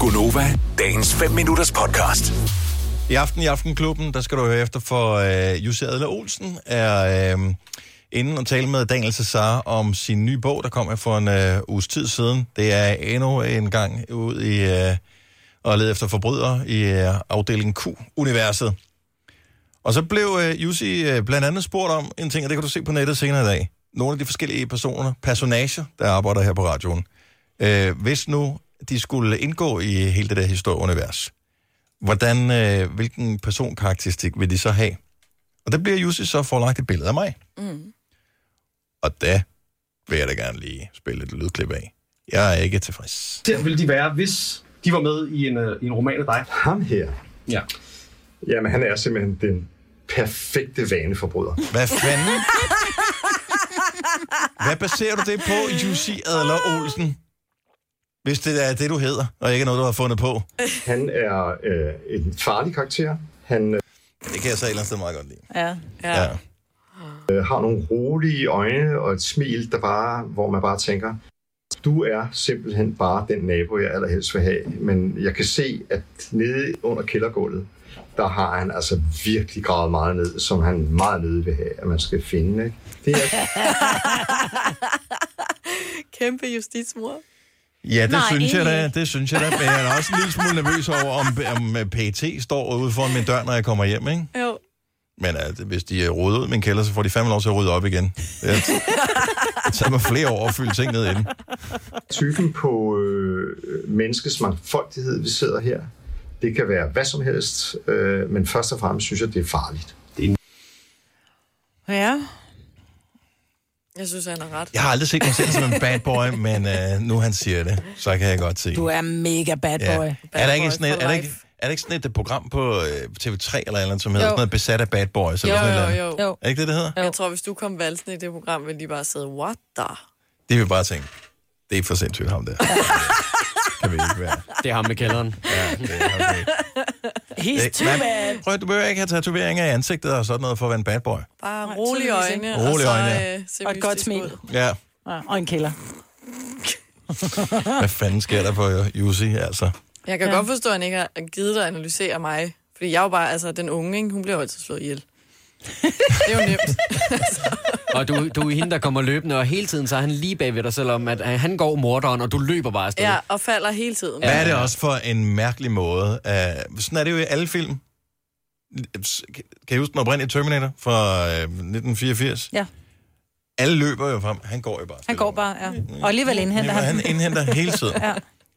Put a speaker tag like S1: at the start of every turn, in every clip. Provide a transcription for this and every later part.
S1: Gunova, dagens 5 minutters podcast.
S2: I aften i Aftenklubben, der skal du høre efter for øh, Jussi Adler Olsen, er øh, inden og tale med Daniel Cesar om sin nye bog, der kom her for en øh, uges tid siden. Det er endnu en gang ud i øh, at lede efter forbrydere i øh, afdeling Q-universet. Og så blev øh, Jussi øh, blandt andet spurgt om en ting, og det kan du se på nettet senere i dag. Nogle af de forskellige personer, personager, der arbejder her på radioen. Øh, hvis nu de skulle indgå i hele det der historieunivers, hvordan, øh, hvilken personkarakteristik vil de så have? Og der bliver Jussi så forelagt et billede af mig. Mm. Og da vil jeg da gerne lige spille et lydklip af. Jeg er ikke tilfreds.
S3: karakter ville de være, hvis de var med i en, øh, i en roman af dig?
S4: Ham her,
S3: Ja.
S4: jamen han er simpelthen den perfekte vaneforbryder.
S2: Hvad fanden? Hvad baserer du det på, Jussi Adler Olsen? Hvis det er det, du hedder, og ikke noget, du har fundet på.
S4: Han er øh, en farlig karakter. Han
S2: Det kan jeg så et eller andet sted meget godt lide.
S5: Ja.
S2: Ja. ja.
S4: øh, har nogle rolige øjne og et smil, der bare, hvor man bare tænker, du er simpelthen bare den nabo, jeg allerhelst vil have. Men jeg kan se, at nede under kældergulvet, der har han altså virkelig gravet meget ned, som han meget nødig vil have, at man skal finde. Ikke? Det er
S5: Kæmpe justitsmor.
S2: Ja, det Nej,
S6: Nej,
S2: synes jeg
S6: egentlig
S2: da.
S6: ikke.
S2: Det synes jeg da. Men jeg er da også en lille smule nervøs over, om, om PT står ude foran min dør, når jeg kommer hjem, ikke?
S5: Jo.
S2: Men altså, hvis de øh, roder ud i min kælder, så får de fandme lov til at rydde op igen. Det tager mig flere år at fylde ting ned inden.
S4: typen på øh, menneskets mangfoldighed, vi sidder her. Det kan være hvad som helst, øh, men først og fremmest synes jeg, det er farligt.
S5: Ja. Jeg synes, han har ret.
S2: Jeg har aldrig set mig selv som en bad boy, men øh, nu han siger det, så kan jeg godt se.
S6: Du er mega bad
S2: Ja.
S6: boy.
S2: er, der
S5: Bad
S2: ikke
S5: boy
S2: sådan et,
S5: for
S2: er, der ikke,
S5: life.
S2: er der ikke sådan et øh, program på øh, TV3 eller et eller andet, som hedder
S5: Jo.
S2: sådan noget besat af bad boys? Eller
S5: Jo,
S2: sådan et eller
S5: jo,
S2: andet?
S5: jo.
S6: Jo.
S5: jo.
S2: Er det ikke det, det hedder?
S5: Jeg tror, hvis du kom valsen i det program, ville de bare sidde, what the?
S2: Det vil bare tænke, det er for sindssygt ham der. kan vi ikke være.
S7: Det er ham med kælderen.
S2: Ja, det er ham, det er.
S6: He's
S2: Det-
S6: too
S2: man-
S6: bad.
S2: Prøv at- du behøver ikke have tatoveringer i ansigtet og sådan noget for at være en bad boy.
S5: Bare rolige
S6: tydeligvis
S5: øjne.
S6: ikke.
S2: Rolige
S5: og, så,
S2: øjne, ja.
S5: øh, se
S6: Og et godt
S5: mystisk
S6: smil.
S5: ud.
S2: Ja.
S6: Ja, Og en kælder.
S2: Hvad fanden sker der på øh, Jussi, altså?
S5: Jeg kan ja. godt forstå, at han ikke har givet dig at analysere mig. Fordi jeg er jo bare, altså den unge, ikke? hun bliver jo altid slået ihjel. det er jo nemt.
S7: Og du, du er hende, der kommer løbende, og hele tiden så er han lige bagved dig, selvom at øh, han går morderen, og du løber bare afsted.
S5: Ja, og falder hele tiden.
S2: Hvad er det også for en mærkelig måde? Uh, sådan er det jo i alle film. Kan I huske den oprindelige Terminator fra uh, 1984?
S6: Ja.
S2: Alle løber jo frem. Han går jo bare.
S6: Han
S2: stille
S6: går
S2: og
S6: bare, ja. Og alligevel indhenter
S2: roligt.
S6: han.
S2: han indhenter hele tiden. ja.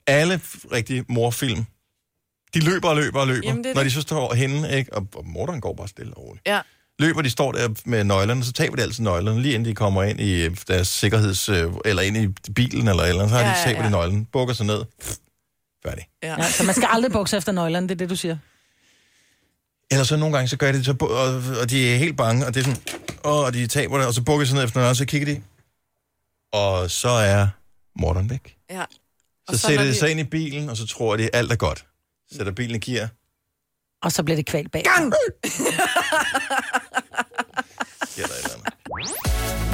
S2: Alle f- rigtige morfilm. De løber og løber og løber.
S5: Jamen, det er
S2: når de
S5: det.
S2: så står henne, ikke? Og, og morderen går bare stille og roligt.
S5: Ja.
S2: Løber, de står der med nøglerne, så taber de altid nøglerne, lige inden de kommer ind i øh, deres sikkerheds... øh, Eller ind i bilen eller et eller andet, så har
S5: Ja,
S2: de
S5: ja,
S2: taber de
S5: ja.
S2: nøglen, bukker sig ned. Færdig.
S5: Ja.
S6: Ja, så man skal aldrig bukse efter nøglerne, det er det, du siger.
S2: Eller så nogle gange, så gør de det, så, bu- og, og de er helt bange, og det er sådan, åh, og de taber det, og så bukker de sig ned efter noget, og så kigger de, og så er morderen væk.
S5: ja.
S2: Så, så sætter de sig ind i bilen, og så tror de, alt er godt. Sætter bilen i gear.
S6: Og så bliver det kvalt bag.
S2: sker der et eller andet.